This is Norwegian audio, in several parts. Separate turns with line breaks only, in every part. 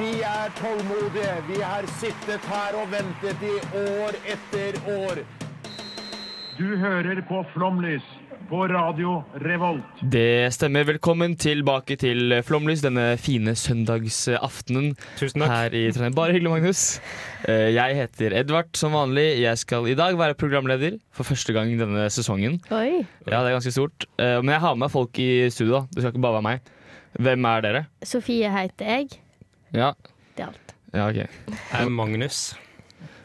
Vi er tålmodige. Vi har sittet her og ventet i år etter år.
Du hører på Flomlys på Radio Revolt.
Det stemmer. Velkommen tilbake til Flomlys denne fine søndagsaftenen
Tusen takk.
her i Trondheim. Bare hyggelig, Magnus. Eh, Jeg heter Edvard som vanlig. Jeg skal i dag være programleder for første gang denne sesongen.
Oi.
Ja, det er ganske stort. Eh, Men jeg har med meg folk i studio. da. Det skal ikke bare være meg. Hvem er dere?
Sofie heter jeg.
Ja,
Det er alt.
ja ok.
Jeg er Magnus.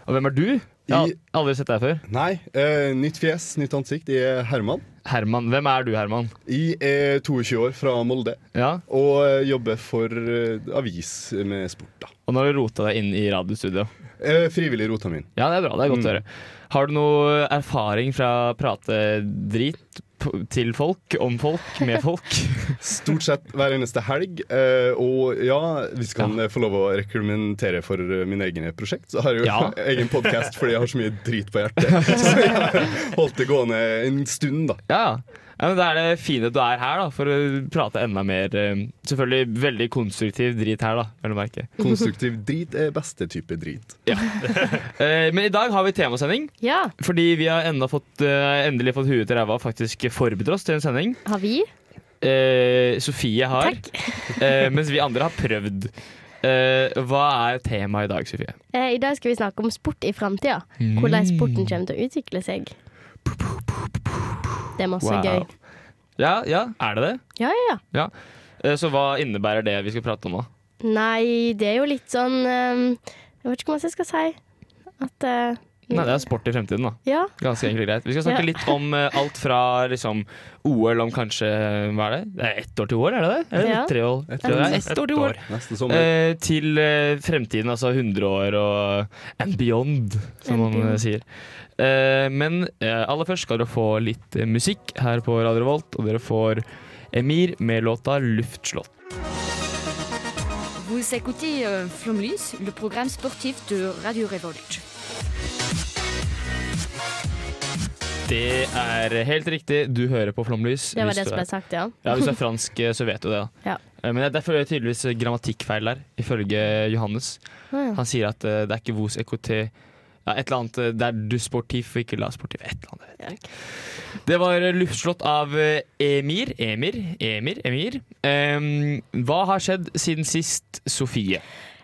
Og hvem er du? Jeg har aldri sett deg før.
Nei. eh, nytt fjes, nytt ansikt. Jeg er Herman.
Herman. Hvem er du, Herman?
Jeg er 22 år fra Molde
Ja,
og eh, jobber for eh, avis med sport. da.
Og nå har du rota deg inn i radiostudio.
Eh, frivillig rota min.
Ja, det er bra. Det er godt å høre. Har du noe erfaring fra å prate drit p- til folk, om folk, med folk?
Stort sett hver eneste helg. eh, og ja, hvis jeg kan
Ja.
eh, få lov å rekommendere for eh, mine egne prosjekt, så har jeg jo
Ja.
egen podkast fordi jeg har så mye drit på hjertet. Så jeg har holdt det gående en stund, da.
Ja. ja men Da er det fint at du er her, da, for å prate enda mer eh, Selvfølgelig veldig konstruktiv drit her, da, vel å merke.
Konstruktiv drit er beste type drit.
Eh, Men i dag har vi temasending,
Ja,
fordi vi har enda fått, eh, endelig fått huet til ræva og faktisk forberedt oss til en sending.
har vi?
Eh, Sofie har,
Takk.
eh, mens vi andre har prøvd. Eh, hva er temaet i dag, Sofie?
Eh, I dag skal vi snakke om sport i framtida.
Mm.
Hvordan sporten kommer til å utvikle seg. Det er masse
Wow.
gøy.
Ja, ja, er det det?
Ja, ja, ja.
Ja. Eh, Så hva innebærer det vi skal prate om nå?
Nei, det er jo litt sånn ehm, Jeg vet ikke hva jeg skal si. At eh,
Nei, Det er sport i fremtiden, da.
Ja.
Ganske enkelt og greit. Vi skal snakke
Ja.
litt om eh, alt fra liksom, OL om kanskje Hva er det? Det er ett år til OL, er det det? Eller
Ja.
tre år?
Et
Ja, det er ett år til OL.
Neste sommer.
Eh, til eh, fremtiden, altså 100 år og and beyond, som man
And
eh,
beyond.
sier. Eh, men eh, aller først skal dere få litt eh, musikk her på Radio Revolt, og dere får Emir med låta 'Luftslott'.
Vous écoutez euh, Flomlys, le programme sportif de Radio Révolte.
Det er helt riktig. Du hører på Flomlys.
Det
Hvis
var det
du
som
er-
ble sagt, ja.
Ja, Hvis du er fransk, eh, så vet du det. da.
Ja.
Eh, Men det er derfor tydeligvis eh, grammatikkfeil der, ifølge eh, Johannes.
Ah, ja.
Han sier at eh, det er ikke vous écoutez ja, Et eller annet eh, det er du sportif og ikke la sportif. Et eller annet.
Ja,
Det var eh, luftslott av eh, Emir. Emir, Emir, Emir. Em, hva har skjedd siden sist, Sofie?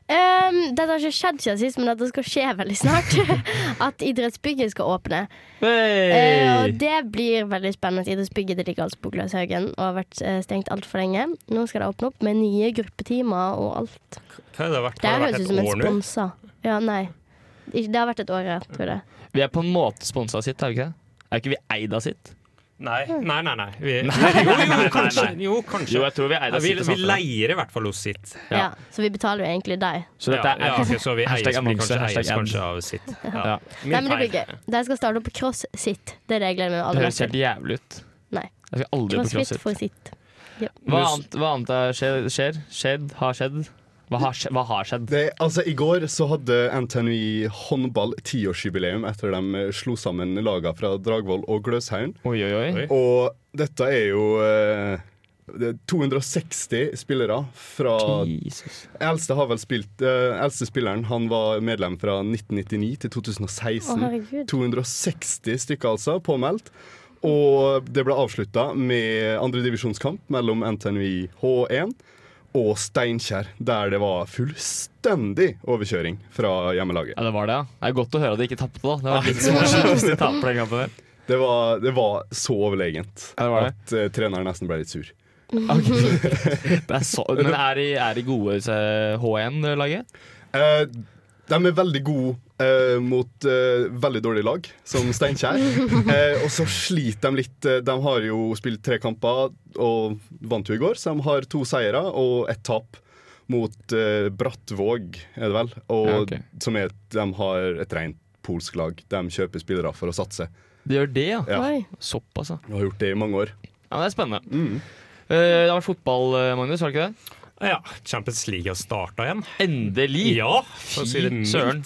Ehm, dette har ikke skjedd siden sist, men dette skal skje veldig snart. At idrettsbygget skal åpne. Eh, og det blir veldig spennende. Idrettsbygget det ligger altså på Gløshaugen og har vært eh, stengt altfor lenge. Nå skal det åpne opp med nye gruppetimer og alt.
Hva har det vært?
Det
Har det
høres
vært
ut som
et
en
år nå?
sponsa. Ja, nei. Ikke- Det har vært et år, ja, tror jeg.
Vi er på en måte sponsa av sitt, er vi ikke det? Er ikke vi eid av sitt?
Nei, nei, nei. nei. Vi, jo, jo, kanskje. Jo, kanskje.
Jo, jeg tror vi er eid
Ja,
av
vi,
sitt.
vi leier i hvert fall hos sitt.
Ja.
Ja. så vi betaler jo egentlig deg.
Så dette er
ja, ja, ok, så vi eies,
Hashtag
blir
annonse,
kanskje,
hashtag
eies
ad.
kanskje av sitt. Ja.
Ja.
Min
Nei, men det blir
feil.
gøy. De skal starte opp på cross sitt. Det er det jeg gleder meg
Det
aller
høres
mest
helt
til.
jævlig ut.
Nei.
Jeg skal aldri på
Crossfit
crossfit.
for sitt.
Hva
Men du-
annet, hva annet er, skjer, skjer? Skjedd? Har skjedd? Hva har, skje- hva har skjedd?
Det, altså, I går så hadde NTNU håndball tiårsjubileum etter de eh, slo sammen laga fra Dragvoll og Gløshaugen.
Oi, oi, oi.
Oi.
Og dette er jo eh, det er 260 spillere fra
Jesus.
Eldste har vel spilt eh, Eldste spilleren han var medlem fra 1999 til
Å,
2016.
herregud.
260 stykker altså, påmeldt. Og det ble avslutta med andredivisjonskamp mellom NTNUI H1 og Steinkjer, der det var fullstendig overkjøring fra hjemmelaget.
Ja, det var det, ja. Det er godt å høre at de ikke tapte, da. Det var litt som å slåss i tap på den kampen der.
Det var, det var så overlegent
Ja, det var det.
at eh, treneren nesten ble litt sur.
Det er så, men er de, er de gode, disse H1-laget?
Eh, de er veldig gode eh, mot eh, veldig dårlige lag, som Steinkjer. Eh, og så sliter de litt. Eh, De har jo spilt tre kamper og vant jo i går, så de har to seire og ett tap mot eh, Brattvåg, er det vel, og,
Ja, ok.
som er, de har et rent polsk lag. De kjøper spillere for å satse.
Det gjør det, ja.
Ja.
Oi.
Såpass, ja.
Og har gjort det i mange år.
ja. men Det er spennende.
Mm.
Eh, det har vært fotball, eh, Magnus, har det ikke det?
Ja, Champions League har starta igjen.
Endelig!
Ja, for å si
Fy
det mildt.
søren.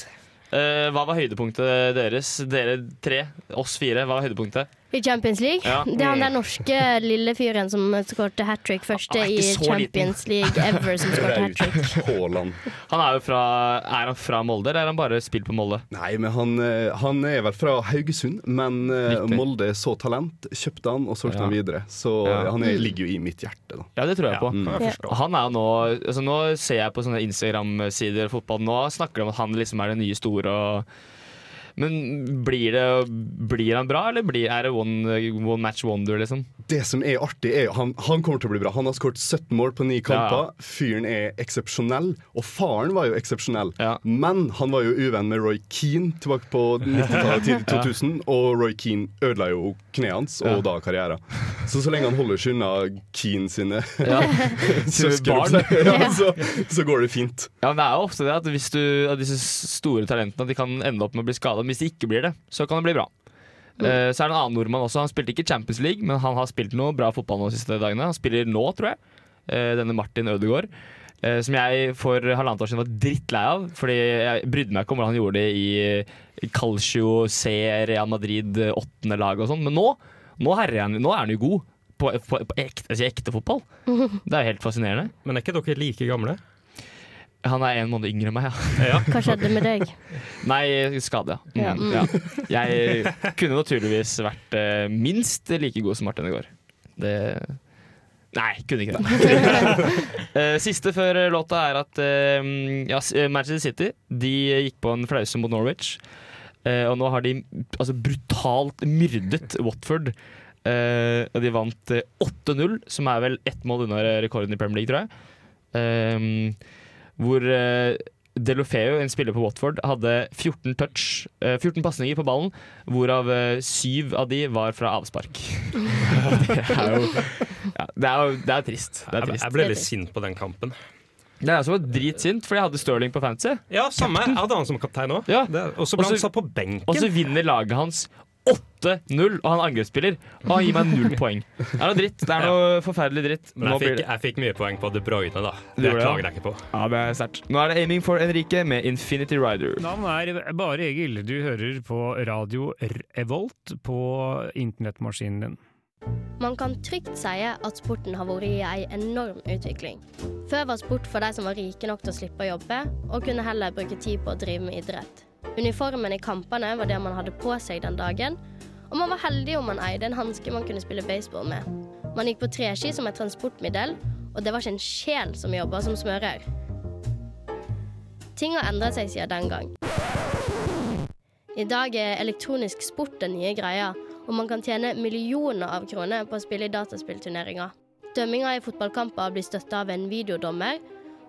Eh, hva var høydepunktet deres? Dere tre, oss fire. Hva var høydepunktet?
I Champions League.
Ja. Mm.
Det er han der norske lille fyren som skårte hat trick første
Han er
i
ikke så
Champions League ever. som skårte hat trick
Raut Haaland.
Han er jo fra Er han fra Molde, eller er han bare spilt på Molde?
Nei, men han, eh, han er vel fra Haugesund, men eh,
Riktig.
Molde så talent, kjøpte han og solgte
Ja.
han videre. Så eh,
Ja.
han er, ligger jo i mitt hjerte, da.
Ja, det tror jeg
Ja,
på.
Mm.
kan jeg forstå.
Han er jo nå altså Nå ser jeg på sånne Instagram-sider fotball Nå snakker de om at han liksom er den nye store og men blir, det, blir han bra, eller blir, er det one, one match wonder, liksom?
Det som er artig, er jo han, han kommer til å bli bra. Han har skåret 17 mål på ni
Ja.
kamper. Fyren er eksepsjonell, og faren var jo eksepsjonell.
Ja.
Men han var jo uvenn med Roy Keane tilbake på 90-tallet, tidlig 2000, og Roy Keane ødela jo kneet hans, og da karrieren. Så så lenge han holder seg unna Keane sine
Ja.
søsken, ja, så, så går det fint.
ja, men Det er jo ofte det at hvis du, at disse store talentene De kan ende opp med å bli skada. Hvis de ikke blir det, så kan det bli bra. Eh, så er det en annen nordmann også. Han spilte ikke Champions League, men han har spilt noe bra fotball nå de siste dagene. Han spiller nå, tror jeg. Eh, denne Martin Ødegaard. eh, som jeg for halvannet år siden var drittlei av. Fordi jeg brydde meg ikke om hvordan han gjorde det i Calcio C, Real Madrid, eh, åttende lag og sånn. Men nå, nå, herjer han, nå er han jo god. På, på, på ekte, jeg sier ekte fotball. Det er jo helt fascinerende.
Men er ikke dere like gamle?
Han er en måned yngre enn meg, ja.
Ja.
Hva skjedde med deg?
Nei, skade, ja.
Ja.
Mm, ja. Jeg kunne naturligvis vært eh, minst like god som Martin i går. Det Nei, kunne ikke det. Eh, Siste før eh, låta er at eh, ja, s- eh, Manchester City De gikk på en flause mot Norwich. Eh, Og nå har de altså, brutalt myrdet Watford. Eh, Og de vant eh, 8-0, som er vel ett mål unna rekorden i Premier League, tror jeg. Eh, Hvor eh, Delofeo, en spiller på Watford, hadde 14 touch, eh, 14 pasninger på ballen, hvorav eh, syv av de var fra avspark. det er jo ja, det, er, jo- det er trist. Det er
Jeg,
trist.
jeg ble litt sint på den kampen.
Det er jeg som var dritsint, fordi jeg hadde Stirling på fantasy,
Ja, samme. Jeg hadde han som kaptein òg.
Ja.
Og så ble
Også-
han satt på benken.
og så vinner laget hans 8-0, og han er angrepsspiller, og han gir meg null poeng. Det er noe dritt. Det er noe forferdelig dritt.
Men
Nå
jeg
blir
fikk,
det
jeg fikk mye poeng på De Bruyne, da.
Du
Det
gjorde det,
klager jeg ikke på.
Ja, det er sterkt. Nå er det aiming for Enrique med Infinity Rider.
Navnet er Bare Egil. Du hører på radio Revolt på internettmaskinen din.
Man kan trygt si at sporten har vært i ei enorm utvikling. Før var sport for de som var rike nok til å slippe å jobbe, og kunne heller bruke tid på å drive med idrett. Uniformen i kampene var det man hadde på seg den dagen, og man var heldig om man eide en hanske man kunne spille baseball med. Man gikk på treski som et transportmiddel, og det var ikke en sjel som jobba som smører. Ting har endra seg siden den gang. I dag er elektronisk sport den nye greia, og man kan tjene millioner av kroner på å spille i dataspillturneringer. Dømminga i fotballkamper blir støtta av en videodommer,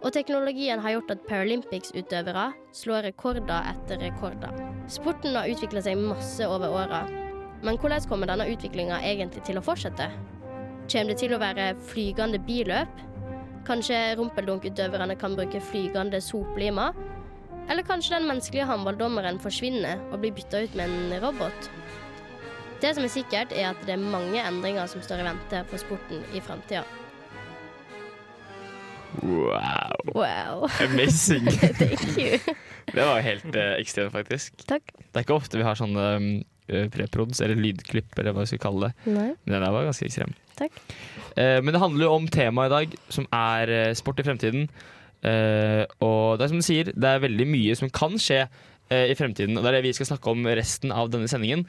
og teknologien har gjort at Paralympics-utøvere slår rekorder etter rekorder. Sporten har utvikla seg masse over åra, men hvordan kommer denne utviklinga egentlig til å fortsette? Kommer det til å være flygende billøp? Kanskje rumpeldunk-utøverne kan bruke flygende soplimer? Eller kanskje den menneskelige håndballdommeren forsvinner og blir bytta ut med en robot? Det som er sikkert, er at det er mange endringer som står i vente for sporten i framtida.
Wow.
Wow.
Amazing.
Thank you.
Det var helt eh, ekstremt, faktisk.
Takk.
Det er ikke ofte vi har sånne um, preprods, eller lydklipp, eller hva vi skal kalle det.
Nei.
Men den der var ganske ekstrem.
Takk.
Eh, men det handler jo om temaet i dag, som er eh, sport i fremtiden. Eh, og det er som du sier, det er veldig mye som kan skje eh, i fremtiden. Og det er det vi skal snakke om resten av denne sendingen.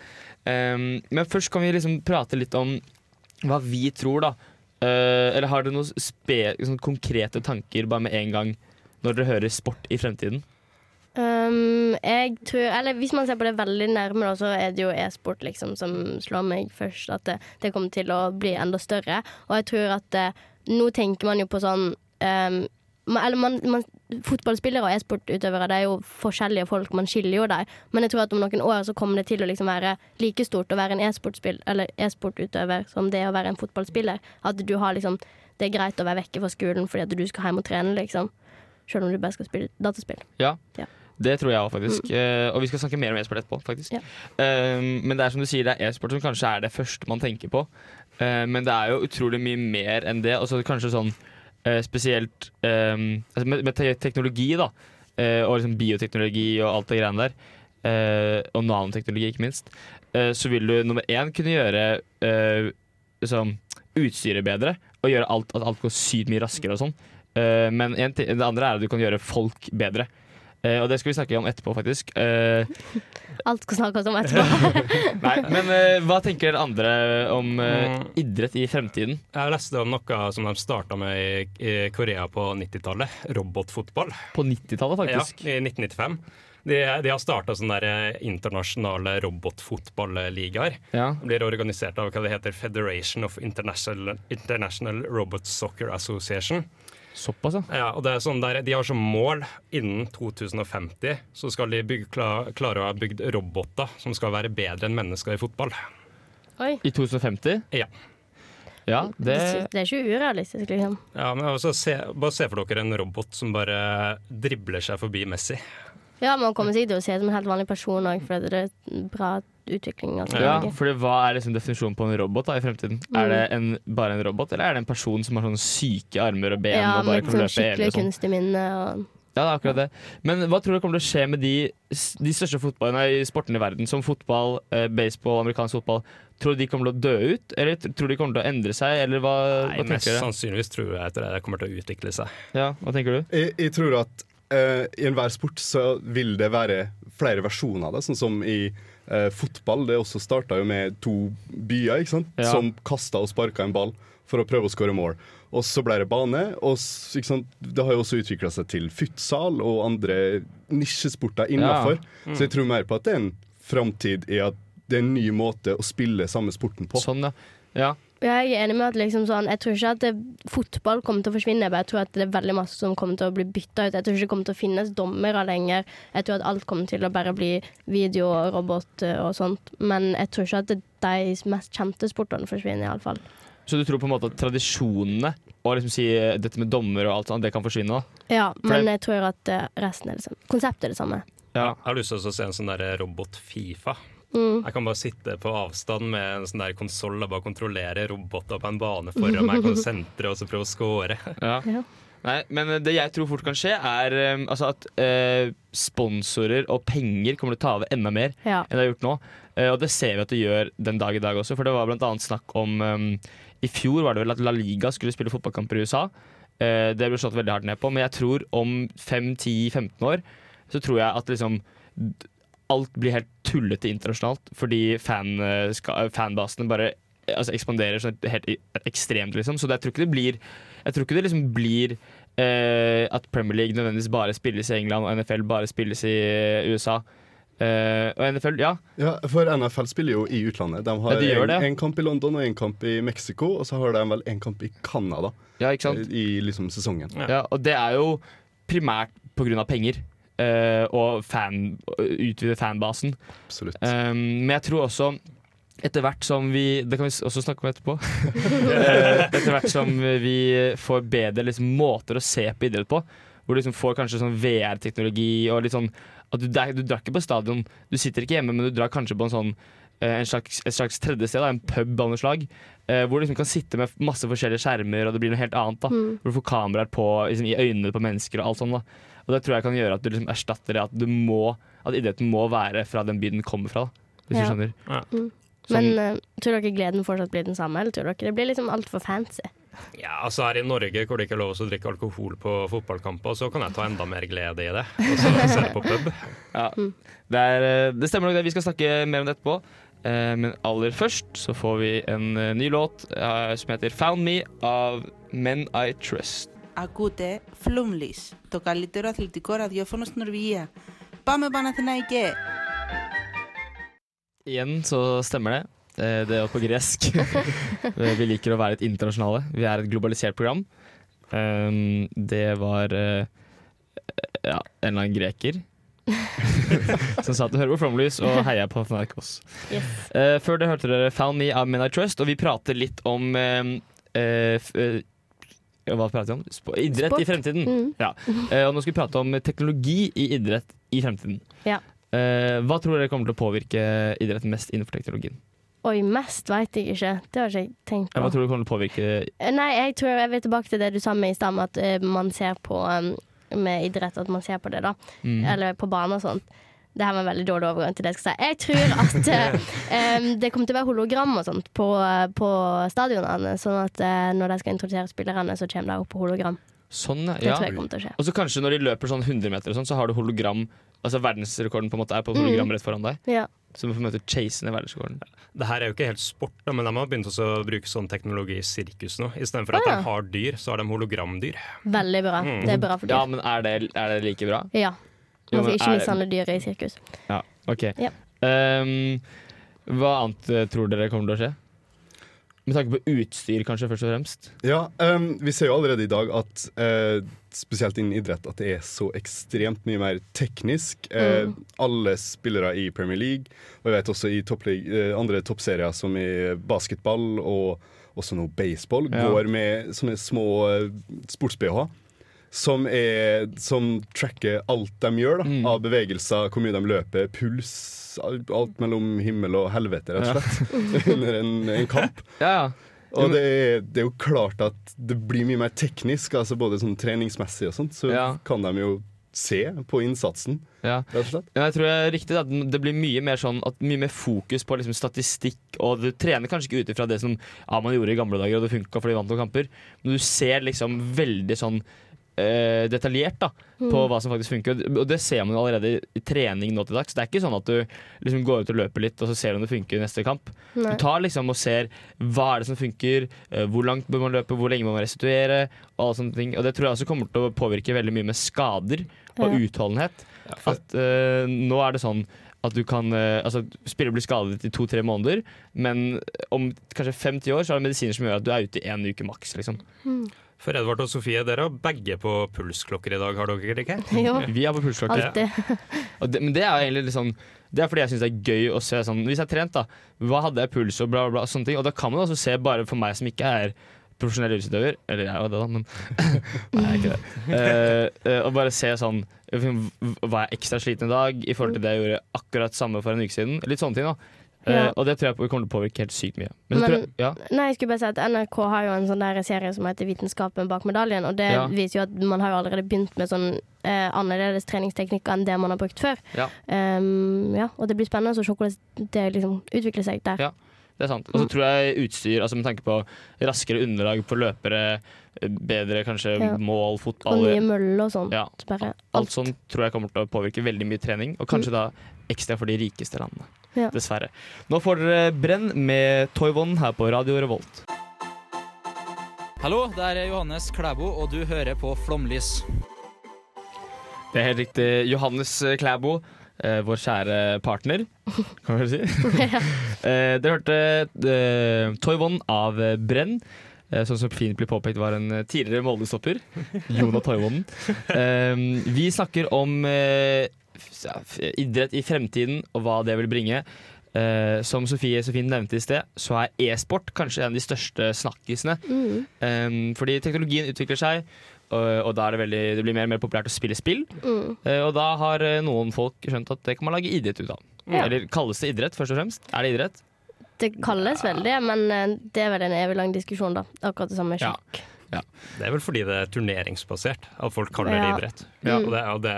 Eh, men først kan vi liksom prate litt om hva vi tror, da. Eh, eller har dere noen spe sånn konkrete tanker bare med en gang når dere hører sport i fremtiden?
Um, jeg tror, eller hvis man ser på det veldig nærme, da, så er det jo e-sport liksom, som slår meg først. At det, det kommer til å bli enda større. Og jeg tror at eh, nå tenker man jo på sånn um, ma- eller man, man, Fotballspillere og e-sportutøvere Det er jo forskjellige folk, man skiller jo der. Men jeg tror at om noen år så kommer det til å liksom være like stort å være en e-sportspill- eller e-sportutøver som det å være en fotballspiller. At du har liksom Det er greit å være vekke fra skolen fordi at du skal hjem og trene, liksom. Selv om du bare skal spille dataspill.
Det tror jeg òg, faktisk. Eh, og vi skal snakke mer om e-sport etterpå, faktisk.
Ja.
Eh, men det er som du sier, det er e-sport som kanskje er det første man tenker på. Eh, men det er jo utrolig mye mer enn det. Altså kanskje sånn eh, spesielt eh, altså med, med te teknologi, da. Eh, og liksom bioteknologi og alt det greiene der. Eh, og nanoteknologi, ikke minst. Eh, så vil du nummer én kunne gjøre eh, liksom, utstyret bedre. Og gjøre alt, at alt går sykt mye raskere og sånn. Eh, men en, ti- det andre er at du kan gjøre folk bedre. Eh, og det skal vi snakke om etterpå, faktisk. Eh,
Alt skal snakkes om etterpå.
nei, men eh, hva tenker dere andre om eh,
Mm.
idrett i fremtiden?
Jeg leste om noe som de starta med i i Korea på 90-tallet. Robotfotball.
På 90-tallet, faktisk.
Ja, I 1995. De, de har starta sånne der eh, internasjonale robotfotballigaer.
Ja.
De blir organisert av hva det heter Federation of International, International Robot Soccer Association.
Såpass, ja.
Ja, og det er sånn der, De har som mål innen 2050 så skal de bygge, kla- klare å ha bygd roboter som skal være bedre enn mennesker i fotball.
Oi.
I 2050?
Ja.
Ja, det
Det er ikke urealistisk, liksom.
Ja, men altså, se, Bare se for dere en robot som bare dribler seg forbi Messi.
Ja, man kommer sikkert til å se det som en helt vanlig person òg, for det er bra utvikling. Altså,
ja,
Norge.
fordi Hva er liksom definisjonen på en robot da i fremtiden? Er det
Mm.
en, bare en robot, eller er det en person som har sånne syke armer og ben?
ja
og bare
med
kan
sånn
løpe evig
skikkelig
og sånn?
kunstig minne og
Ja, det er akkurat det. Men hva tror du kommer til å skje med de, de største fotball, nei, sportene i verden, som fotball, eh, baseball, amerikansk fotball? Tror du de kommer til å dø ut, eller t- tror du de kommer til å endre seg? Eller hva,
Nei,
hva
Mest
tenker
sånn.
du?
sannsynligvis tror jeg at det kommer til å utvikle seg.
Ja, hva tenker du?
Jeg, jeg tror at eh, i enhver sport så vil det være flere versjoner av det, sånn som i eh, fotball. Det også starta jo med to byer ikke sant?
Ja.
som kasta og sparka en ball for å prøve å skåre mål. Og så ble det bane. og s- ikke sant? Det har jo også utvikla seg til futsal og andre nisjesporter innafor. Så jeg tror mer på at det er en framtid i at det er en ny måte å spille samme sporten på.
Sånn, ja. ja.
Ja, jeg er enig med at liksom sånn Jeg tror ikke at det, fotball kommer til å forsvinne, jeg bare tror at det er veldig masse som kommer til å bli bytta ut. Jeg tror ikke det kommer til å finnes dommere lenger. Jeg tror at alt kommer til å bare bli video og robot eh, og sånt. Men jeg tror ikke at det, de mest kjente sportene forsvinner, iallfall.
Så du tror på en måte at tradisjonene og liksom si eh, dette med dommer og alt sånt, det kan forsvinne? da?
Ja,
det-
men jeg tror at eh, resten er det samme. Konseptet er det samme.
Ja.
Jeg har lyst til å se en sånn der robot-Fifa.
Mm.
Jeg kan bare sitte på avstand med en sånn der konsoll og bare kontrollere roboter på en bane foran meg, konsentre og så prøve å score.
Ja.
Ja.
Nei, men det jeg tror fort kan skje, er eh, altså at eh, sponsorer og penger kommer til å ta over enda mer
Ja.
enn det har gjort nå. Eh, og det ser vi at det gjør den dag i dag også, for det var bl.a. snakk om eh, I fjor var det vel at La Liga skulle spille fotballkamper i USA. Eh, det ble slått veldig hardt ned på, men jeg tror om 5-10-15 år så tror jeg at liksom d- alt blir helt tullete internasjonalt fordi fan, eh, ska- fanbasene bare eh, altså, ekspanderer sånn helt i- ekstremt, liksom. Så det, jeg tror ikke det blir Jeg tror ikke det liksom blir eh, at Premier League nødvendigvis bare spilles i England og NFL bare spilles i eh, USA. Eh, og NFL, ja.
Ja, for NFL spiller jo i utlandet. De har
Ja, de gjør
en,
det, ja.
en kamp i London og en kamp i Mexico, og så har de vel en kamp i Canada
Ja, ikke sant?
i liksom sesongen.
Ja, og det er jo primært pga. penger. eh, og fan, utvide fanbasen.
Absolutt.
Um, men jeg tror også etter hvert som vi Det kan vi s- også snakke om etterpå. Eh, etter hvert som vi får bedre liksom, måter å se på idrett på, hvor du liksom får kanskje sånn VR-teknologi og litt sånn at du, der- du drar ikke på stadion, du sitter ikke hjemme, men du drar kanskje på en sånn eh, en slags, et slags tredje sted, da, en pub av noe slag, eh, hvor du liksom kan sitte med masse forskjellige skjermer, og det blir noe helt annet. da Hvor du får kameraer på, liksom, i øynene på mennesker og alt sånt. da Og det tror jeg kan gjøre at du liksom erstatter det at du må At idretten må være fra den byen den kommer fra. da, Hvis
Ja.
du skjønner.
Ja.
Sånn-
Men eh, tror dere gleden fortsatt blir den samme, eller tror dere det blir liksom altfor fancy?
Ja, altså Her i Norge, hvor det ikke er lov å drikke alkohol på fotballkamper, så kan jeg ta enda mer glede i det. Og så se det på pub.
Ja. Det, er, eh, det stemmer nok det. Vi skal snakke mer om det etterpå. Eh, Men aller først så får vi en eh, ny låt eh, som heter 'Found Me' av Men I Trust.
Ακούτε Flumlis, το καλύτερο αθλητικό ραδιόφωνο στην Νορβηγία. Πάμε Παναθηναϊκέ!
Igjen så stemmer det. Eh, Det var på gresk. Eh, Vi liker å være litt internasjonale. Vi er et globalisert program. Um, Det var eh, ja, en eller annen greker som sa at du hører på Flomlys og heier på Fnaikos.
Yes.
Eh, før det hørte dere Found Me av Men I Trust, og vi prater litt om eh, eh, f- eh, Ja, Hva prater vi om? Sp idrett
Sport.
i fremtiden.
Mm.
Ja. Eh, og nå skal vi prate om teknologi i idrett i fremtiden.
Ja.
Eh, hva tror dere kommer til å påvirke idretten mest innenfor teknologien?
Oi, mest veit jeg ikke. Det har ikke jeg
Eh,
tenkt på. Eh,
Hva tror dere kommer til å påvirke
Nei, jeg tror jeg vil tilbake til det du sa med i stad, med at eh, man ser på eh, med idrett at man ser på det, da.
Mm.
Eller på bane og sånt. Det her var en veldig dårlig overgang til det jeg skal si. Jeg tror at eh, em, det kommer til å være hologram og sånt på, eh, på stadionene, sånn at eh, når de skal introdusere spillerne, så kommer de opp på hologram.
Sånn,
Det
ja.
tror jeg kommer til å skje.
Og så kanskje når de løper sånn 100 meter og sånn, så har du hologram Altså verdensrekorden på en måte er på et hologram
Mm.
rett foran deg.
Ja.
Så du får møte chase ned verdensrekorden.
Det her er jo ikke helt sport, da, men de har begynt også å bruke sånn teknologi i sirkus nå. Istedenfor at
Å, ja.
de har dyr, så har de hologramdyr.
Veldig bra.
Mm.
Det er bra for
Ja,
dyr.
men er det, er det like bra?
Ja.
Jo,
Man skal
men
ikke
er-
mishandle dyr i sirkus.
Ja, ok.
Ja.
Ehm, hva annet eh, tror dere kommer til å skje? Med tanke på utstyr, kanskje, først og fremst.
Ja, ehm, Vi ser jo allerede i dag at eh, spesielt innen idrett at det er så ekstremt mye mer teknisk. Eh, Alle spillere i Premier League, og jeg vet også i topplig- eh, andre toppserier som i basketball og også nå baseball,
Ja.
går med sånne små eh, sports-BH. Som, er, som tracker alt de gjør da, av bevegelser, hvor mye de løper, puls. Alt alt mellom himmel og helvete, rett og slett. Under en, en kamp.
Ja, ja.
Og det er, det er jo klart at det blir mye mer teknisk, altså både sånn treningsmessig og sånt, så
Ja.
kan de jo se på innsatsen,
ja.
rett og slett.
Ja, jeg tror det er riktig at det blir mye mer, sånn, at mye mer fokus på liksom, statistikk. Og du trener kanskje ikke ut ifra det som ja, man gjorde i gamle dager, og det funka fordi de vant noen kamper, men du ser liksom veldig sånn eh, detaljert da, på hva som faktisk funker. Og det ser man jo allerede i- i trening nå til dags. Det er ikke sånn at du liksom, går ut og løper litt, og så ser du om det funker i neste kamp.
Nei.
Du tar liksom og ser hva er det som funker, eh, hvor langt bør man løpe, hvor lenge må man restituere, og alle sånne ting. Og det tror jeg også kommer til å påvirke veldig mye med skader og
Ja.
utholdenhet. At eh, nå er det sånn at du kan eh, Altså, spillere blir skadet i to-tre måneder, men om kanskje fem-ti år så er det medisiner som gjør at du er ute i én uke maks, liksom.
For Edvard og Sofie, dere har begge på pulsklokker i dag, har dere ikke?
Jo,
Vi er på pulsklokke.
alltid.
Og det, men det er jo egentlig litt sånn Det er fordi jeg syns det er gøy å se sånn Hvis jeg har trent, da, hva hadde jeg puls og bla, bla, bla, sånne ting. Og da kan man også se, bare for meg som ikke er profesjonell idrettsutøver Eller jeg er jo det, da, men Nei, jeg er ikke det. Eh, eh, og bare se sånn v- Var jeg ekstra sliten i dag i forhold til det jeg gjorde akkurat samme for en uke siden? Litt sånne ting, da. Eh,
Ja.
Og det tror jeg kommer til å påvirke helt sykt mye. Men, jeg
Men-
tror, ja.
Nei, jeg skulle bare si at NRK har jo en sånn der serie som heter 'Vitenskapen bak medaljen', og det
Ja.
viser jo at man har jo allerede begynt med sånn eh, annerledes treningsteknikker enn det man har brukt før.
Ja.
Ehm, ja, og det blir spennende å se hvordan det liksom utvikler seg der.
Ja. Det er sant. Og så
Mm.
tror jeg utstyr, altså med tanke på raskere underlag på løpere, eh, bedre kanskje
Ja.
mål,
Og
fotball
nye møller og sånn.
ja.
Så Bare
Alt sånn tror jeg kommer til å påvirke veldig mye trening, og kanskje da ekstra for de rikeste landene.
Ja.
Dessverre. Nå får dere Brenn med Toyvon her på Radio Revolt.
Hallo, det er Johannes Klæbo, og du hører på Flomlys.
Det er helt riktig. Johannes Klæbo, eh, vår kjære partner, kan vi vel si. eh, dere hørte eh, Toyvon av eh, Brenn. eh, Sånn som fint blir påpekt var en eh, tidligere Molde-stopper. Jonah Toivonen. Eh, vi snakker om eh, f- ja, f- idrett i fremtiden og hva det vil bringe. Eh, som Sofie så fint nevnte i sted, så er e-sport kanskje en av de største snakkisene. Eh, fordi teknologien utvikler seg, og, og da er det, veldig, det blir mer og mer populært å spille spill. Eh, og da har eh, noen folk skjønt at det kan man lage idrett ut av.
Ja.
Eller kalles det idrett, først og fremst? Er det idrett?
Det kalles vel det, men eh, det er vel en evig lang diskusjon, da. Akkurat det samme med
Ja.
sjakk.
Det er vel fordi det er turneringsbasert at folk kaller det
Ja. Mm.
idrett. Og det, og det,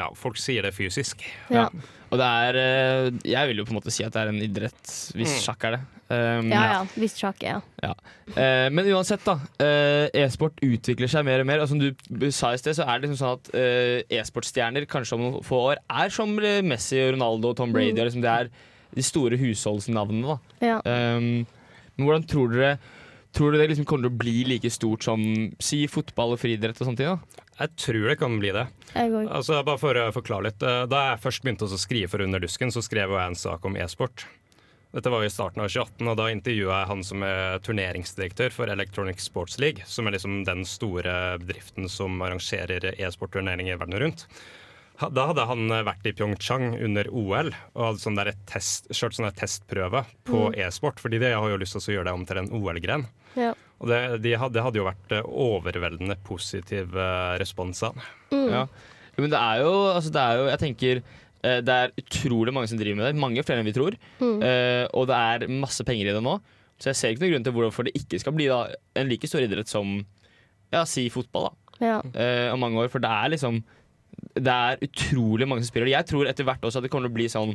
ja, folk sier det fysisk.
Ja.
Og det er eh, Jeg vil jo på en måte si at det er en idrett, hvis sjakk er det. Um,
ja ja, hvis sjakk er ja.
Eh, men uansett, da. eh, E-sport utvikler seg mer og mer. Og som du b- sa i sted, så er det liksom sånn at eh, e-sportstjerner kanskje om noen få år er som eh, Messi, Ronaldo
Mm.
og Tom Brady. og Liksom, det er de store husholdsnavnene, da.
ja.
Um, men hvordan tror dere Tror dere det liksom kommer til å bli like stort som si fotball og friidrett og sånne ting? da?
Jeg tror det kan bli det.
Jeg går.
Altså, bare for å forklare litt. eh, Da jeg først begynte å skrive for Underdusken, så skrev jeg en sak om e-sport. Dette var jo i starten av 2018, og da intervjua jeg han som er turneringsdirektør for Electronic Sports League, som er liksom den store bedriften som arrangerer e-sportturneringer verden rundt. Ha- Da hadde han eh, vært i Pyeongchang under OL og hadde sånn der test, kjørt sånne testprøver på e-sport, fordi de har jo lyst til å gjøre det om til en OL-gren.
Mm. Ja.
Og det, de hadde, det hadde jo vært eh, overveldende positiv eh, respons av den.
Mm.
Ja. Jo, Men det er jo, altså det er jo Jeg tenker eh, det er utrolig mange som driver med det. Mange flere enn vi tror.
Mm.
Eh, og det er masse penger i det nå. Så jeg ser ikke noen grunn til hvorfor det ikke skal bli da, en like stor idrett som ja, si fotball da,
Ja.
eh, om mange år. For det er liksom Det er utrolig mange som spiller. Jeg tror etter hvert også at det kommer til å bli sånn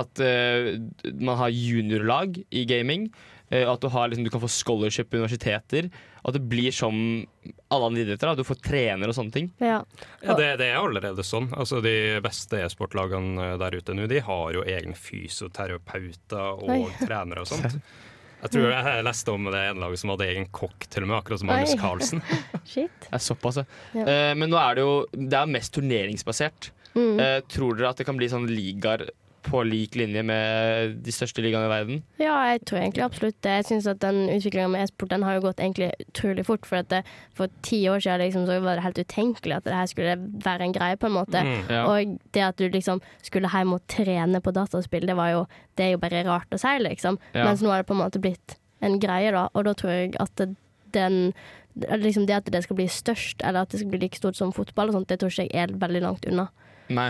at eh, man har juniorlag i gaming. eh, at du, har, liksom, du kan få scholarship på universiteter. At det blir som alle andre idretter. Da. Du får trener og sånne ting.
Ja.
Ja, det, det er allerede sånn. Altså, de beste e-sportlagene eh, der ute nå, de har jo egne fysioterapeuter og
Oi.
trenere og sånt. Jeg tror jeg leste om det ene laget som hadde egen kokk, til og med, akkurat som
Oi.
Magnus Carlsen.
Shit.
Det er såpass, ja.
Ja.
Eh, men nå er det jo Det er mest turneringsbasert.
Mm.
Eh, tror dere at det kan bli sånn ligaer på lik linje med de største ligaene i verden?
Ja, jeg tror egentlig absolutt det. Jeg synes at den utviklingen med e-sport den har jo gått egentlig utrolig fort. For, at det, for ti år siden liksom, så var det helt utenkelig at det her skulle være en greie, på en måte.
Mm,
ja.
Og det at du liksom skulle hjem og trene på dataspill, det, var jo, det er jo bare rart å si, liksom.
Ja.
Mens nå har det på en måte blitt en greie, da. Og da tror jeg at det- den Liksom det at det skal bli størst, eller at det skal bli like stort som fotball, og sånt, det tror ikke jeg er veldig langt unna.
Nei.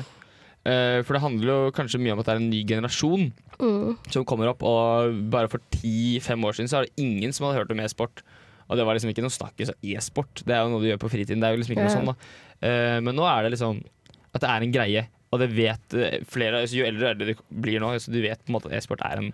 Eh, for det handler jo kanskje mye om at det er en ny generasjon
Mm.
som kommer opp. Og bare for ti-fem år siden så er det ingen som hadde hørt om e-sport. Og det var liksom ikke noe snakkis av e-sport. Det er jo noe du gjør på fritiden. Det er jo liksom ikke noe
Ja.
sånn da Eh, Men nå er det liksom at det er en greie, og det vet eh, flere altså, Jo eldre og eldre du blir nå, så du vet på en måte at e-sport er en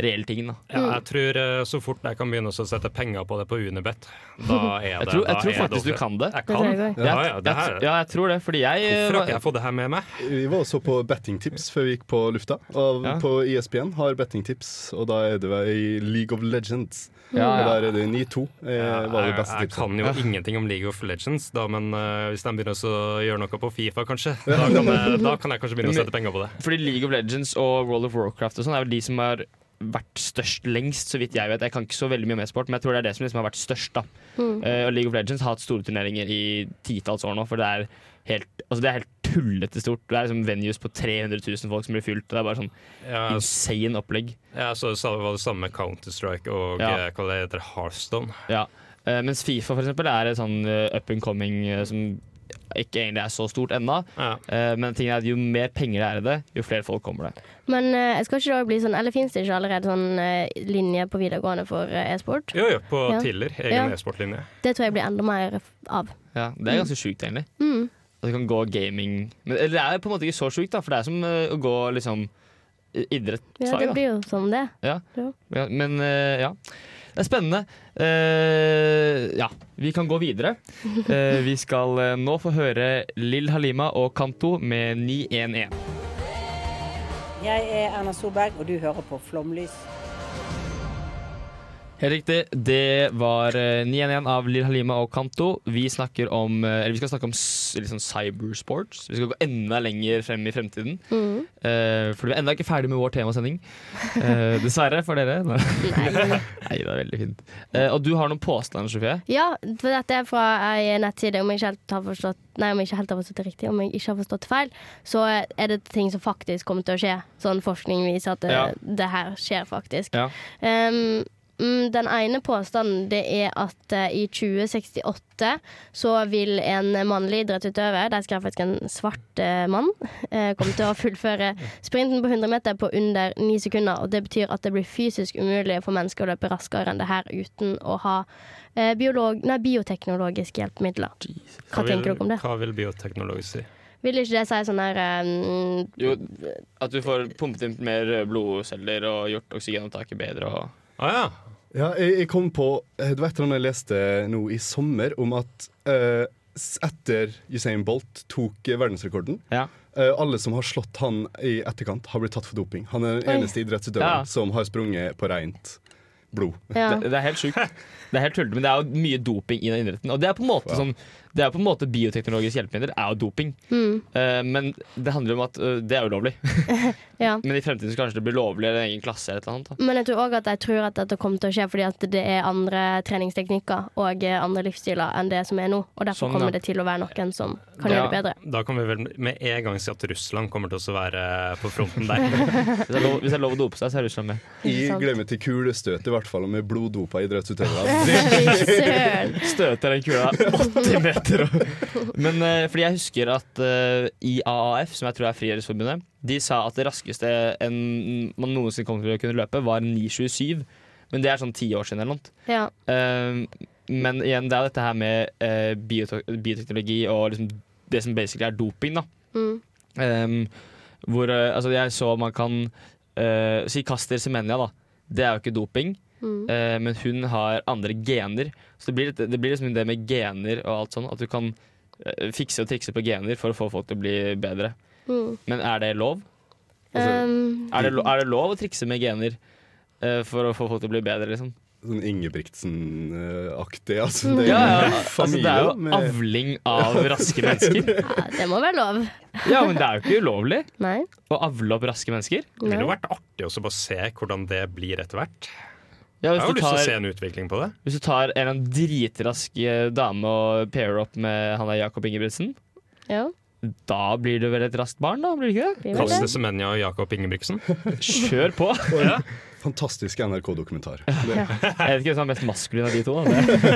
reell ting. da
Ja, jeg tror eh, så fort jeg kan begynne også å sette penger på det på Unibet, da er
Jeg
det
tror,
da
jeg tror
er
faktisk du
offentlig.
kan det.
Jeg
tror jeg
kan.
også.
Ja, ja, det her.
Jeg tr- ja, jeg tror det, fordi jeg eh,
Hvorfor har ikke jeg fått det her med meg?
Vi var også på bettingtips før vi gikk på lufta. Og
Ja.
På E ESPN har bettingtips, og da er det vel i League of Legends.
Ja,
Og
ja.
der er det 9-2 eh, var det
Jeg,
beste
jeg
tipset.
kan jo ingenting om League of Legends, da, men eh, hvis de begynner også å gjøre noe på Fifa, kanskje, da kan jeg, da kan jeg kanskje begynne å sette penger på det.
Fordi League of Legends og World of Warcraft og sånn er vel de som har vært størst lengst, så vidt jeg vet. Jeg kan ikke så veldig mye om e-sport, men jeg tror det er det som liksom har vært størst. da.
Mm.
Eh, og League of Legends har hatt store turneringer i titalls år nå, for det er helt, altså det er helt tullete stort. Det er liksom venues på 300 000 folk som blir fylt. og Det er bare sånn
Ja,
insane opplegg.
Ja, så sa- var det samme med Counter-Strike og
Ja.
eh, hva det heter, Hearthstone.
Ja. Eh, mens Fifa for eksempel er et sånn eh, up and coming eh, som ikke egentlig er så stort ennå.
Ja.
Eh, men ting er at jo mer penger det er i det, jo flere folk kommer det.
Men eh, jeg skal ikke da bli sånn Eller finnes det ikke allerede sånn eh, linje på videregående for eh, e-sport?
Jo, jo, på
Ja.
Tiller, egen
Ja.
e-sportlinje.
Det tror jeg blir enda mer f- av.
Ja, det er ganske sjukt, egentlig.
Mm.
At du kan gå gaming Men eller det er på en måte ikke så sjukt, da, for det er som eh, å gå liksom
Ja, det
idrettslag. da.
blir jo som det.
Ja.
Ja.
Ja, men eh, ja. Det er spennende. Eh, ja, vi kan gå videre. Eh, vi skal eh, nå få høre Lill Halima og Kanto med 911.
Jeg er Erna Solberg, og du hører på Flomlys.
Helt riktig. Det var eh, 911 av Lill Halima og Kanto. Vi, snakker om, eh, eller vi skal snakke om s- litt sånn cybersports. Vi skal gå enda lenger frem i fremtiden.
Mm.
Eh, for vi er enda ikke ferdig med vår temasending. Eh, dessverre for dere. Nei, Nei, det er veldig fint. Eh, og du har noen påstander, Sofie.
ja, for dette er fra ei nettside, om jeg ikke helt har forstått Nei, om jeg ikke helt har forstått det riktig, om jeg ikke har forstått det feil, så er det ting som faktisk kommer til å skje. Sånn forskning viser at det,
Ja.
det her skjer faktisk.
Ja.
Um, mm, den ene påstanden det er at eh, i 2068 så vil en mannlig idrettsutøver, der skrev faktisk en svart eh, mann, eh, komme til å fullføre sprinten på 100 meter på under 9 sekunder. Og det betyr at det blir fysisk umulig for mennesker å løpe raskere enn det her uten å ha eh, biolog, nei, bioteknologiske hjelpemidler. Hva
vil-
tenker dere om det?
Hva vil bioteknologi si?
Vil ikke det si sånn her eh,
Jo, at du får pumpet inn mer blodceller og gjort oksygenopptaket bedre. Og
Ah, ja.
Ja, jeg, jeg kom på eh, Det var et eller annet jeg leste nå i sommer om at eh, s- etter Usain Bolt tok eh, verdensrekorden
Ja.
eh, Alle som har slått han i etterkant, har blitt tatt for doping. Han er den
Oi.
eneste idrettsutøveren
Ja.
som har sprunget på rent blod.
ja.
Det, det er helt sjukt. Det er helt tullete, men det er jo mye doping i den idretten. Og det er på en måte sånn Det er på en måte bioteknologisk hjelpemidler er jo doping.
Mm.
Eh, men det handler om at eh, det er ulovlig.
Ja.
Men i fremtiden så kanskje det blir lovlig eller en egen klasse eller et eller annet. da.
Men jeg tror òg at jeg tror at dette kommer til å skje fordi at det er andre treningsteknikker og eh, andre livsstiler enn det som er nå. Og derfor
Sånn,
kommer
ja.
det til å være noen som kan
da,
gjøre det bedre.
Da kan vi vel med en gang si at Russland kommer til å være på fronten der.
Hvis det er lov, hvis det er lov å dope seg, så er Russland med.
Jeg glemmer til kulestøt, i hvert fall med bloddopa idrettsutøvere.
Det-
Støter den kula 80 meter opp. Men eh, fordi jeg husker at eh, IAAF, som jeg tror er Friidrettsforbundet, de sa at det raskeste en, man noensinne kom til å kunne løpe, var 9,27. Men det er sånn ti år siden eller noe.
Ja.
Eh, men igjen, det er dette her med eh, biotek bioteknologi og liksom det som basically er doping, da.
Mm.
Ehm, hvor eh, altså jeg så man kan eh, Si Kaster Semenya, da. Det er jo ikke doping.
Mm.
eh, men hun har andre gener. Så det blir, litt, det blir liksom det med gener og alt sånn. At du kan eh, fikse og trikse på gener for å få folk til å bli bedre.
Mm.
Men er det lov?
Altså,
Um,
Er det, lo- er det lov å trikse med gener eh, for å få folk til å bli bedre, liksom?
Sånn Ingebrigtsen-aktig. Altså, det er
ja, ja.
en
Altså, det er jo
familie med-
avling av raske mennesker.
ja, det må være lov.
Ja, men det er jo ikke ulovlig
Nei.
å avle opp raske mennesker.
Det ville jo vært artig også bare å se hvordan det blir etter hvert.
Ja,
jeg
hvis
har jo
du
lyst til å
tar-
se en utvikling på det.
Hvis du tar en eller annen dritrask eh, dame og pairer opp med han der Jakob Ingebrigtsen,
Ja.
da blir det vel et raskt barn, da? Blir det ikke det?
Kaste Semenya og Jakob Ingebrigtsen.
Kjør på!
Og en Fantastisk NRK-dokumentar.
Ja.
Jeg vet ikke hvem som er mest maskulin av de to. Da. Det, det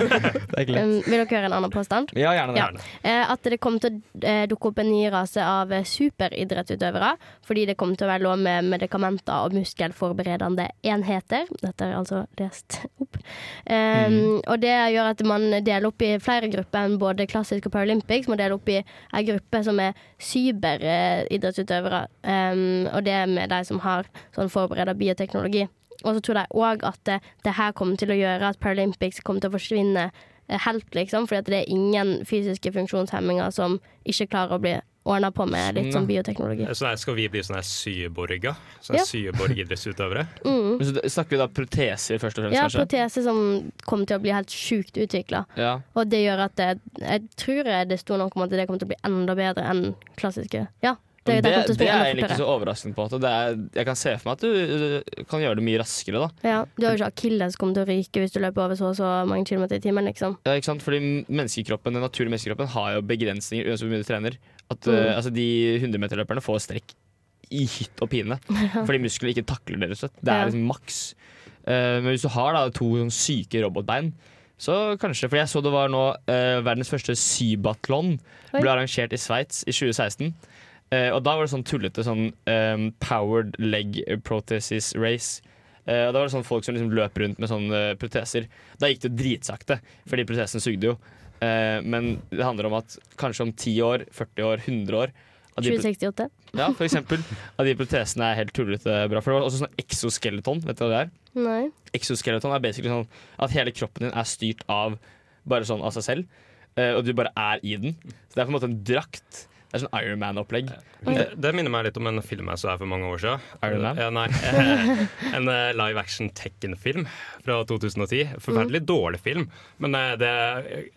er ikke lett.
Um, vil dere høre en annen påstand?
Ja, gjerne det.
Ja. Eh, At det kommer til å eh, dukke opp en ny rase av eh, superidrettsutøvere. Fordi det kommer til å være lov med medikamenter og muskelforberedende enheter. Dette er altså lest opp. Eh, Og det gjør at man deler opp i flere grupper enn både klassisk og Paralympics. Man deler opp i en gruppe som er cyberidrettsutøvere. Um, og det er med de som har sånn forberedt bioteknologi. Og så tror de òg at det, det her kommer til å gjøre at Paralympics kommer til å forsvinne eh, helt, liksom. Fordi at det er ingen fysiske funksjonshemminger som ikke klarer å bli ordna på med litt sånn bioteknologi.
Så der skal vi bli sånne her syborger? Sånne
Ja.
syborgidrettsutøvere?
Mm.
Men Så d- snakker vi da proteser først og fremst,
Ja,
kanskje?
protese som kommer til å bli helt sjukt utvikla.
Ja.
Og det gjør at det, jeg tror det sto noe om at det kommer til å bli enda bedre enn klassiske. Ja,
Det, det,
kommer til å springe
er
enda
jeg egentlig ikke
fortere.
så overraskende på. at Det er, jeg kan se for meg at du øh, kan gjøre det mye raskere, da.
Ja, du har jo ikke akilles kommer til å ryke hvis du løper over så og så mange kilometer i timen, liksom.
Ja, ikke sant? Fordi menneskekroppen, den naturlige menneskekroppen har jo begrensninger uansett hvor mye du trener. At
Mm.
øh, altså, De 100-meterløperne får strekk i hytt og pine. Fordi musklene ikke takler det. rett og slett. Det
Ja.
er liksom maks. Eh, men hvis du har da, to sånn syke robotbein, så kanskje For jeg så det var nå eh, verdens første sybatlon
Oi.
ble arrangert i Sveits i 2016. Eh, og da var det sånn tullete sånn eh, powered leg prothesis race. Eh, og da var det sånn folk som liksom løp rundt med sånne eh, proteser. Da gikk det jo dritsakte, fordi protesen sugde jo. Eh, men det handler om at kanskje om 10 år, 40 år, 100 år at de-
2068.
ja, for eksempel. At de protesene er helt tullete bra. For det var også sånn exoskeleton. Vet du hva det er?
Nei.
Exoskeleton er basically sånn at hele kroppen din er styrt av bare sånn av seg selv. eh, Og du bare er i den. Så det er på en måte en drakt. Det er sånn Ironman-opplegg.
Det, det minner meg litt om en film jeg så her for mange år siden.
Iron Man?
Ja, nei. En eh, live action Tekken-film fra 2010. Forferdelig dårlig film. Men eh, det,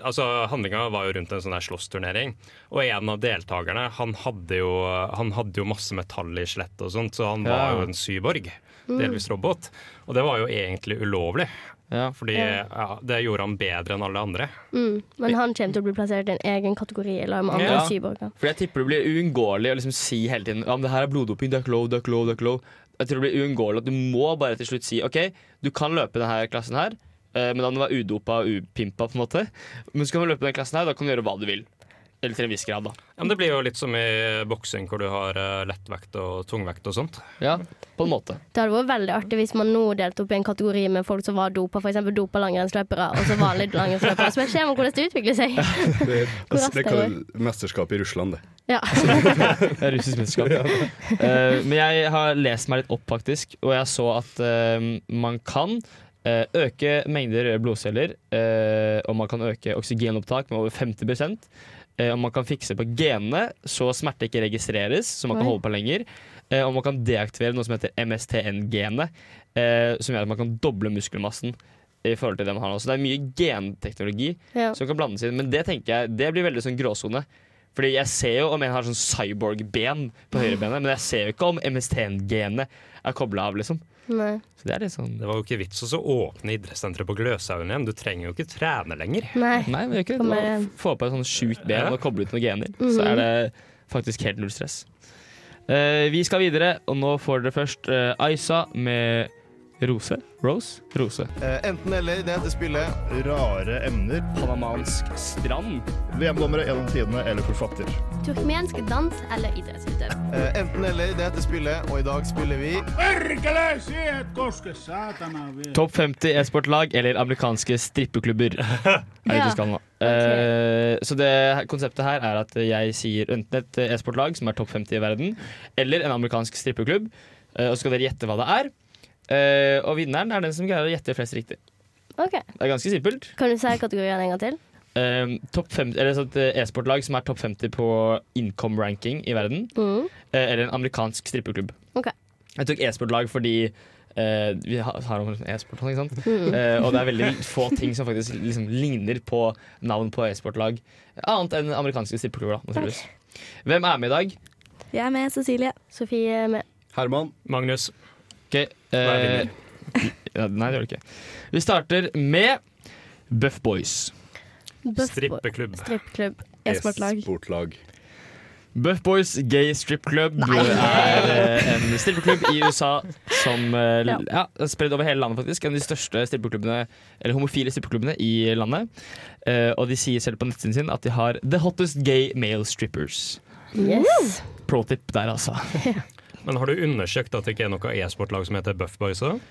altså, handlinga var jo rundt en sånn der slåssturnering. Og en av deltakerne han hadde, jo, han hadde jo masse metall i skjelettet og sånt, så han
Ja.
var jo en syborg. Delvis robot. Og det var jo egentlig ulovlig. Fordi ja, det gjorde han bedre enn alle andre.
Mm. Men han kommer til å bli plassert i en egen kategori i lag med andre
Ja.
cyborger.
For jeg tipper det blir uunngåelig å liksom si hele tiden Ja, men det her er bloddoping, det er ikke lov, det er ikke lov, det er ikke lov. Jeg tror det blir uunngåelig at du må bare til slutt si OK, du kan løpe denne klassen her, eh, men da må du være udopa og upimpa, på en måte. Men så kan du løpe denne klassen her, da kan du gjøre hva du vil. Eller til en viss grad, da.
Ja, men det blir jo litt som i boksing, hvor du har eh, lettvekt og tungvekt og sånt.
Ja, på en måte.
Det hadde vært veldig artig hvis man nå delte opp i en kategori med folk som var dopa, f.eks. dopa langrennsløpere, og så vanlige langrennsløpere. Så ser man hvordan det utvikler seg.
Det, altså,
Hvor raskt
det
det
kaller mesterskap i Russland, det.
Ja.
Det er russisk mesterskap. Eh, men jeg har lest meg litt opp, faktisk, og jeg så at eh, man kan eh, øke mengder røde blodceller, eh, og man kan øke oksygenopptak med over 50 eh, og man kan fikse på genene så smerte ikke registreres, så man kan
Oi.
holde på lenger. eh, og man kan deaktivere noe som heter MSTN-genet, eh, som gjør at man kan doble muskelmassen. i forhold til det man har nå. Så det er mye genteknologi
Ja.
som kan blandes inn. Men det tenker jeg, det blir veldig sånn gråsone. Fordi jeg ser jo om en har sånn cyborg-ben på høyrebenet, men jeg ser jo ikke om MST-genet er kobla av, liksom.
Nei.
Så det er litt sånn
Det var jo ikke vits å så åpne idrettssenteret på Gløshaugen igjen. Du trenger jo ikke trene lenger.
Nei.
Nei, vi gjør ikke det.
Kommer
Bare
igjen.
Få på et sånn sjukt ben og koble ut noen gener,
Mhm.
så er det faktisk helt null stress. Eh, vi skal videre, og nå får dere først eh, Aisa med Rose. Rose? Rose.
Eh, enten eller, det heter spillet Rare emner.
Panamansk strand.
VM-dommere gjennom tidene eller forfatter.
Turkmensk dans eller idrettsutøv.
Eh, enten eller, det heter spillet, og i dag spiller vi
Perkele, siet koske, saatana vielä.
Topp 50 e-sportlag eller amerikanske strippeklubber. Er det
Ja.
du skal nå. Eh, så det her- konseptet her er at jeg sier enten et e-sportlag som er topp 50 i verden, eller en amerikansk strippeklubb, eh, og så skal dere gjette hva det er. Eh, og vinneren er den som greier å gjette flest riktig.
OK.
Det er ganske simpelt.
Kan du si kategorien en gang til?
Um, topp fem- eller sånn et eh, e-sportlag som er topp 50 på income ranking i verden.
Mm.
eh, Eller en amerikansk strippeklubb.
OK.
Jeg tok e-sportlag fordi eh, vi har, har om e-sport, ikke sant?
Mm.
Eh, og det er veldig få ting som faktisk liksom ligner på navn på e-sportlag. Annet enn amerikanske strippeklubber, da, naturligvis. Hvem er med i dag?
Jeg er med, Cecilie.
Sofie er med.
Herman.
Magnus.
Ok, eh,
Nei,
ja, nei, det gjør det ikke. Vi starter med Buff Boys.
Buff-
Strippeklubb.
Strippeklubb. E-sportlag.
Sportlag.
Buff Boys Gay Strip Club er eh, en strippeklubb i USA som eh, l- ja, er spredd over hele landet, faktisk. En av de største strippeklubbene, eller homofile strippeklubbene i landet. Eh, og de sier selv på nettsiden sin at de har the hottest gay male strippers.
Yes.
Pro tip der, altså.
Men har du undersøkt at det ikke er noe e-sportlag som heter Buff Boys òg?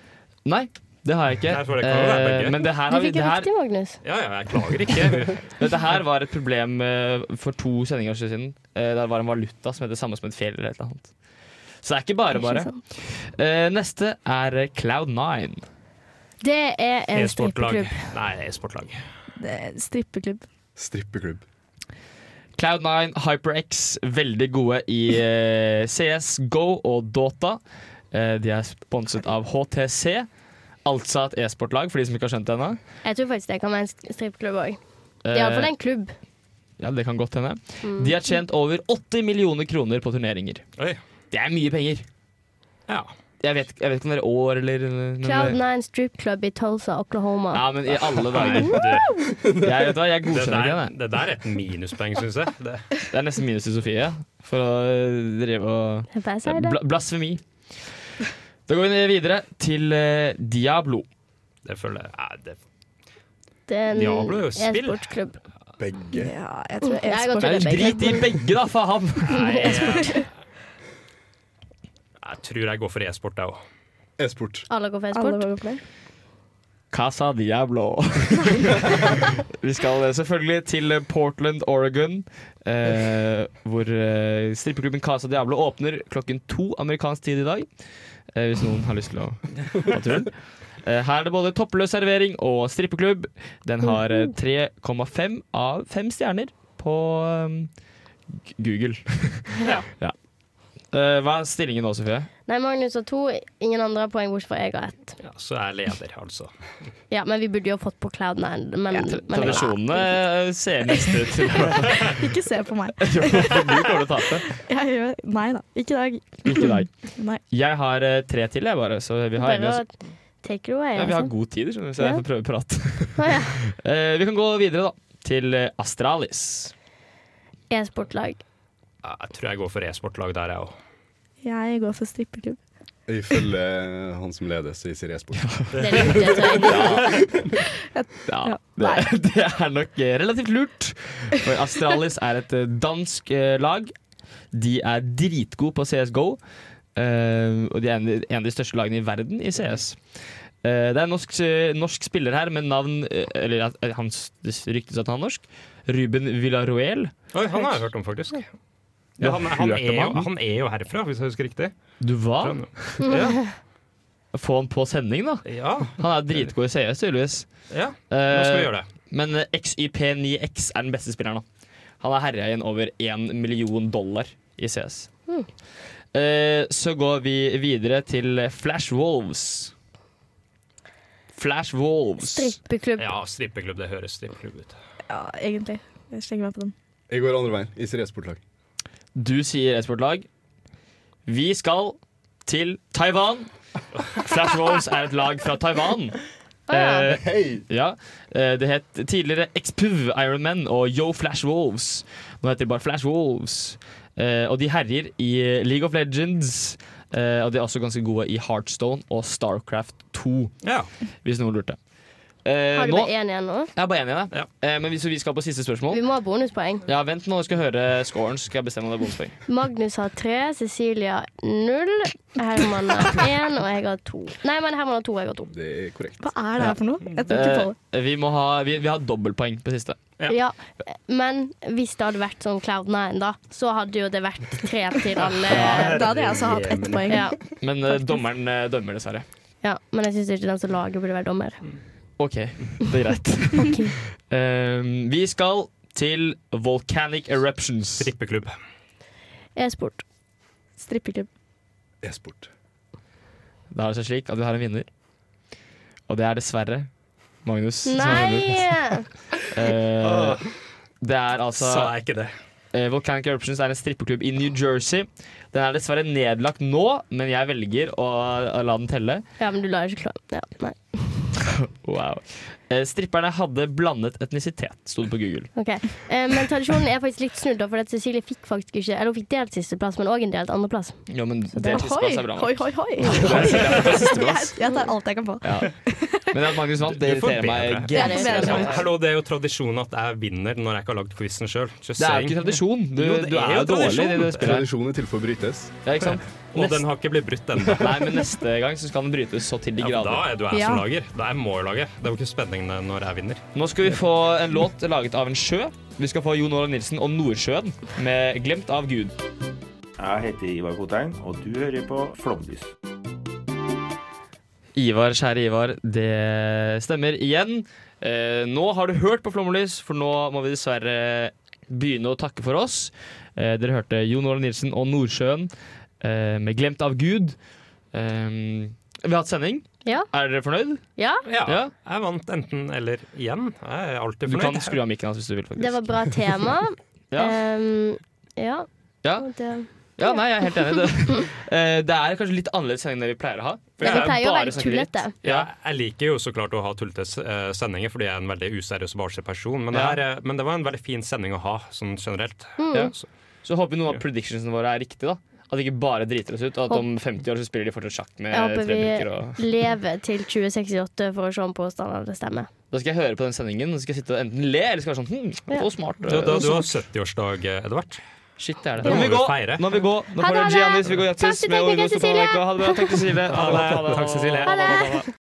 Nei, det har jeg ikke.
Derfor det kan jo være
Eh,
begge.
men det her
Du
har vi
fikk
det
det
her,
riktig, Magnus.
Ja, ja, jeg klager ikke.
Dette her var et problem eh, for to sendinger siden. Eh, Det var en valuta som heter samme som et fjell eller et eller annet. Så det er ikke bare,
Ikke
bare.
sant.
Eh, Neste er eh, Cloud9.
Det er en
E-sportlag.
strippeklubb.
Nei, e-sportlag.
Strippeklubb.
Strippeklubb.
Cloud9, HyperX, veldig gode i eh, CS, Go og Dota. Eh, de er sponset av HTC, altså et e-sportlag, for de som ikke har skjønt det ennå.
Jeg tror faktisk det kan være en st- strippeklubb òg.
Eh,
Iallfall en klubb.
Ja, det kan godt hende.
Mm.
De har tjent over 80 millioner kroner på turneringer. Det er mye penger. Jeg vet, jeg vet ikke om det er år eller men-
Cloud9 Strip Club i Tulsa, Oklahoma.
Ja, men i alle dager. Jeg, vet du hva, jeg godkjenner ikke
der,
det.
det der er et minuspoeng, syns jeg. Det.
Det er nesten minus til Sofie, for å eh, drive og
Jeg bare sier det.
Bla- Blasfemi. Da går vi ned videre til eh, Diablo.
Det føler jeg nei, det,
Det er eh, en
Diablo er jo spill.
e-sportklubb.
Begge.
Ja,
jeg tror Jeg e-sport- går til
Nei,
det begge.
Drit i begge, da, faen!
Nei, jeg, jeg tror jeg går for e-sport, jeg òg.
E-sport.
Alle går for e-sport.
Casa Diablo. vi skal eh, selvfølgelig til eh, Portland, Oregon, eh, hvor eh, strippeklubben Casa Diablo åpner klokken to amerikansk tid i dag. Eh, hvis noen har lyst til å ta turen. Eh, her er det både toppløs servering og strippeklubb. Den har eh, 3,5 av 5 stjerner på eh, G- Google.
Ja.
ja. Eh, hva er stillingen nå, Sofie?
Nei, Magnus har to. Ingen andre har poeng bortsett fra jeg har ett.
Ja, så jeg er leder, altså.
Ja, men vi burde jo ha fått på Cloud9. Men, men
Tradisjonene eh, ser mest ut.
Ikke se på meg.
Jo, for du kommer til å tape.
Jeg gjør Nei da, ikke i dag.
Ikke i dag.
Nei.
Jeg har eh, tre til, jeg, bare. Så vi har,
Bare
med oss-
å take it away.
ja, vi har
altså.
god tid, skjønner du, så jeg
Ja.
får prøve å prate.
Å, ja.
Eh, vi kan gå videre, da. Til eh, Astralis.
E-sportlag.
Ja, Jeg tror jeg går for e-sportlag der, jeg òg.
Jeg går for strippeklubb.
Ifølge han som leder, så sier e-sport.
Det er lurt, jeg
Ja, det, det er nok eh, relativt lurt. For Astralis er et eh, dansk eh, lag. De er dritgode på CSGO. eh, og de er en, en av de største lagene i verden i CS. Eh, det er en norsk, eh, norsk spiller her med navn eh, Eller at- eh, hans, det ryktes at han er norsk. Ruben Villarroel.
Oi, han har jeg hørt om, faktisk.
Du
Ja,
har
han, han,
hørt
er
om
jo,
han?
han er jo herfra, hvis jeg husker riktig.
Du hva? Mhm.
Ja.
Få han på sending, da. Han er dritgod i CS, tydeligvis.
Ja, nå skal
Eh,
vi gjøre det.
Men XYP9X er den beste spilleren nå. Han er herja igjen over én million dollar i CS.
Mm.
Eh, så går vi videre til Flash Wolves. Flash Wolves.
Strippeklubb.
Ja, strippeklubb. Det høres strippeklubb ut.
Ja, egentlig. Jeg slenger meg på den.
Jeg går andre veien. Jeg sier e-sportlag.
Du sier e-sportlag. Vi skal til Taiwan. Flash Wolves er et lag fra Taiwan. Eh, ja. Eh, det het tidligere Expuv Ironman og Yo Flash Wolves. Nå heter de bare Flash Wolves. Eh, og de herjer i League of Legends. eh, og de er også ganske gode i Heartstone og Starcraft 2, hvis noen lurte. Eh,
Har du
nå-
bare én igjen nå?
Jeg er bare enig i det. Eh, men hvis vi skal på siste spørsmål
Vi må ha bonuspoeng.
Ja, Vent nå, jeg skal høre scoren, så skal jeg bestemme om det er bonuspoeng.
Magnus har tre, Cecilia null. Herman har én, og jeg har to. Nei, men Herman har to, og jeg har to.
Det er korrekt.
Hva er det her for noe? Jeg tror ikke på det.
Eh, vi, må ha, vi, vi har dobbeltpoeng på siste.
Ja. Men hvis det hadde vært sånn Cloud9, da, så hadde jo det vært tre til alle.
Ja. Da hadde jeg også hatt
altså ett poeng.
Ja,
Men eh, dommeren eh, dømmer, dessverre.
ja Men jeg syns ikke den som lager, burde være dommer.
OK, det er greit. Eh, vi skal til Volcanic Eruptions. Strippeklubb.
E-sport.
Strippeklubb.
E-sport.
Da er det seg slik at vi har en vinner. Og det er dessverre Magnus. som er vinner.
Nei!
Eh, det er altså
Sa jeg ikke det?
Eh, Volcanic Eruptions er en strippeklubb i New Jersey. Den er dessverre nedlagt nå, men jeg velger å, å la den telle.
Ja, men du lar ikke klare ja, Nei.
Wow. Eh, stripperne hadde blandet etnisitet, sto det på Google.
Ok. Eh, men tradisjonen er faktisk litt snudd, da, for at Cecilie fikk faktisk ikke Eller hun fikk delt sisteplass, men òg en delt andreplass.
Ja, men
Så
det
det-
sisteplass er bra.
Hoi, hoi, hoi. Jeg, jeg tar alt jeg kan få.
Ja. Men at Magnus vant, det
Du får
irriterer meg
bedre.
grenseløst.
Ja, Hallo, det er jo tradisjon at jeg vinner når jeg ikke har lagd quizen sjøl.
Det er jo ikke tradisjon. Du, du er jo dårlig i det du spiller.
Tradisjonen er til for å brytes.
Ja, ikke sant?
Og den har ikke blitt brutt ennå.
Nei, men neste gang så skal den brytes så til de
Ja,
grader.
da er du jeg som lager. Da er jeg må jo lage. Det er jo ikke spenningen når jeg vinner.
Nå skal vi få en låt laget av en sjø. Vi skal få Jon Olav Nilsen og Nordsjøen med 'Glemt av Gud'.
Jeg heter Ivar Kotein, og du hører på Flomlys.
Ivar, kjære Ivar, det stemmer igjen. Eh, nå har du hørt på Flommerlys, for nå må vi dessverre begynne å takke for oss. Eh, dere hørte Jon Olav Nilsen og Nordsjøen eh, med 'Glemt av Gud'. Eh, vi har hatt sending.
Ja.
Er dere fornøyd?
Ja.
Jeg vant enten eller igjen. Jeg er alltid
Du
fornøyd.
kan skru av mikken hans hvis du vil. faktisk.
Det var eh, bra tema.
Ja.
Em, ja.
Ja.
Og det-
Ja, nei, jeg er helt enig. Det, Eh, det er kanskje litt annerledes sending enn det vi pleier å ha.
Ja, vi
Jeg
pleier å
bare
være
snakker dritt.
tullete.
Ja, jeg liker jo så klart å ha tullete eh, sendinger, fordi jeg er en veldig useriøs og barnslig person. Men det,
Ja. Mm.
her, eh, men det var en veldig fin sending å ha, sånn generelt.
Ja. Så, så håper vi noen av predictionsene våre er riktige. da At de ikke bare driter oss ut, og at om 50 år så spiller de fortsatt sjakk med
Jeg håper
tre brikker.
vi
Og...
lever til 2068 for å se om påstandene stemmer.
Da skal jeg høre på den sendingen og så skal jeg sitte og enten le eller skal være sånn hm, så smart.
Du, da,
og
du har
smart».
70-årsdag, eh, Edvard.
Shit, det er
Da
det. Nå må
må
vi
vi
gå!
feire.
Nå, må vi gå. Nå
Ha
får
det,
dere
ha det.
Giannis, vi går
Takk
Jaktis
til
med
tekniker
Orgo
Cecilie.
Stopanenko. Ha det bra. Takk, Cecilie.
Ha det. Takk, Cecilie.
Ha det.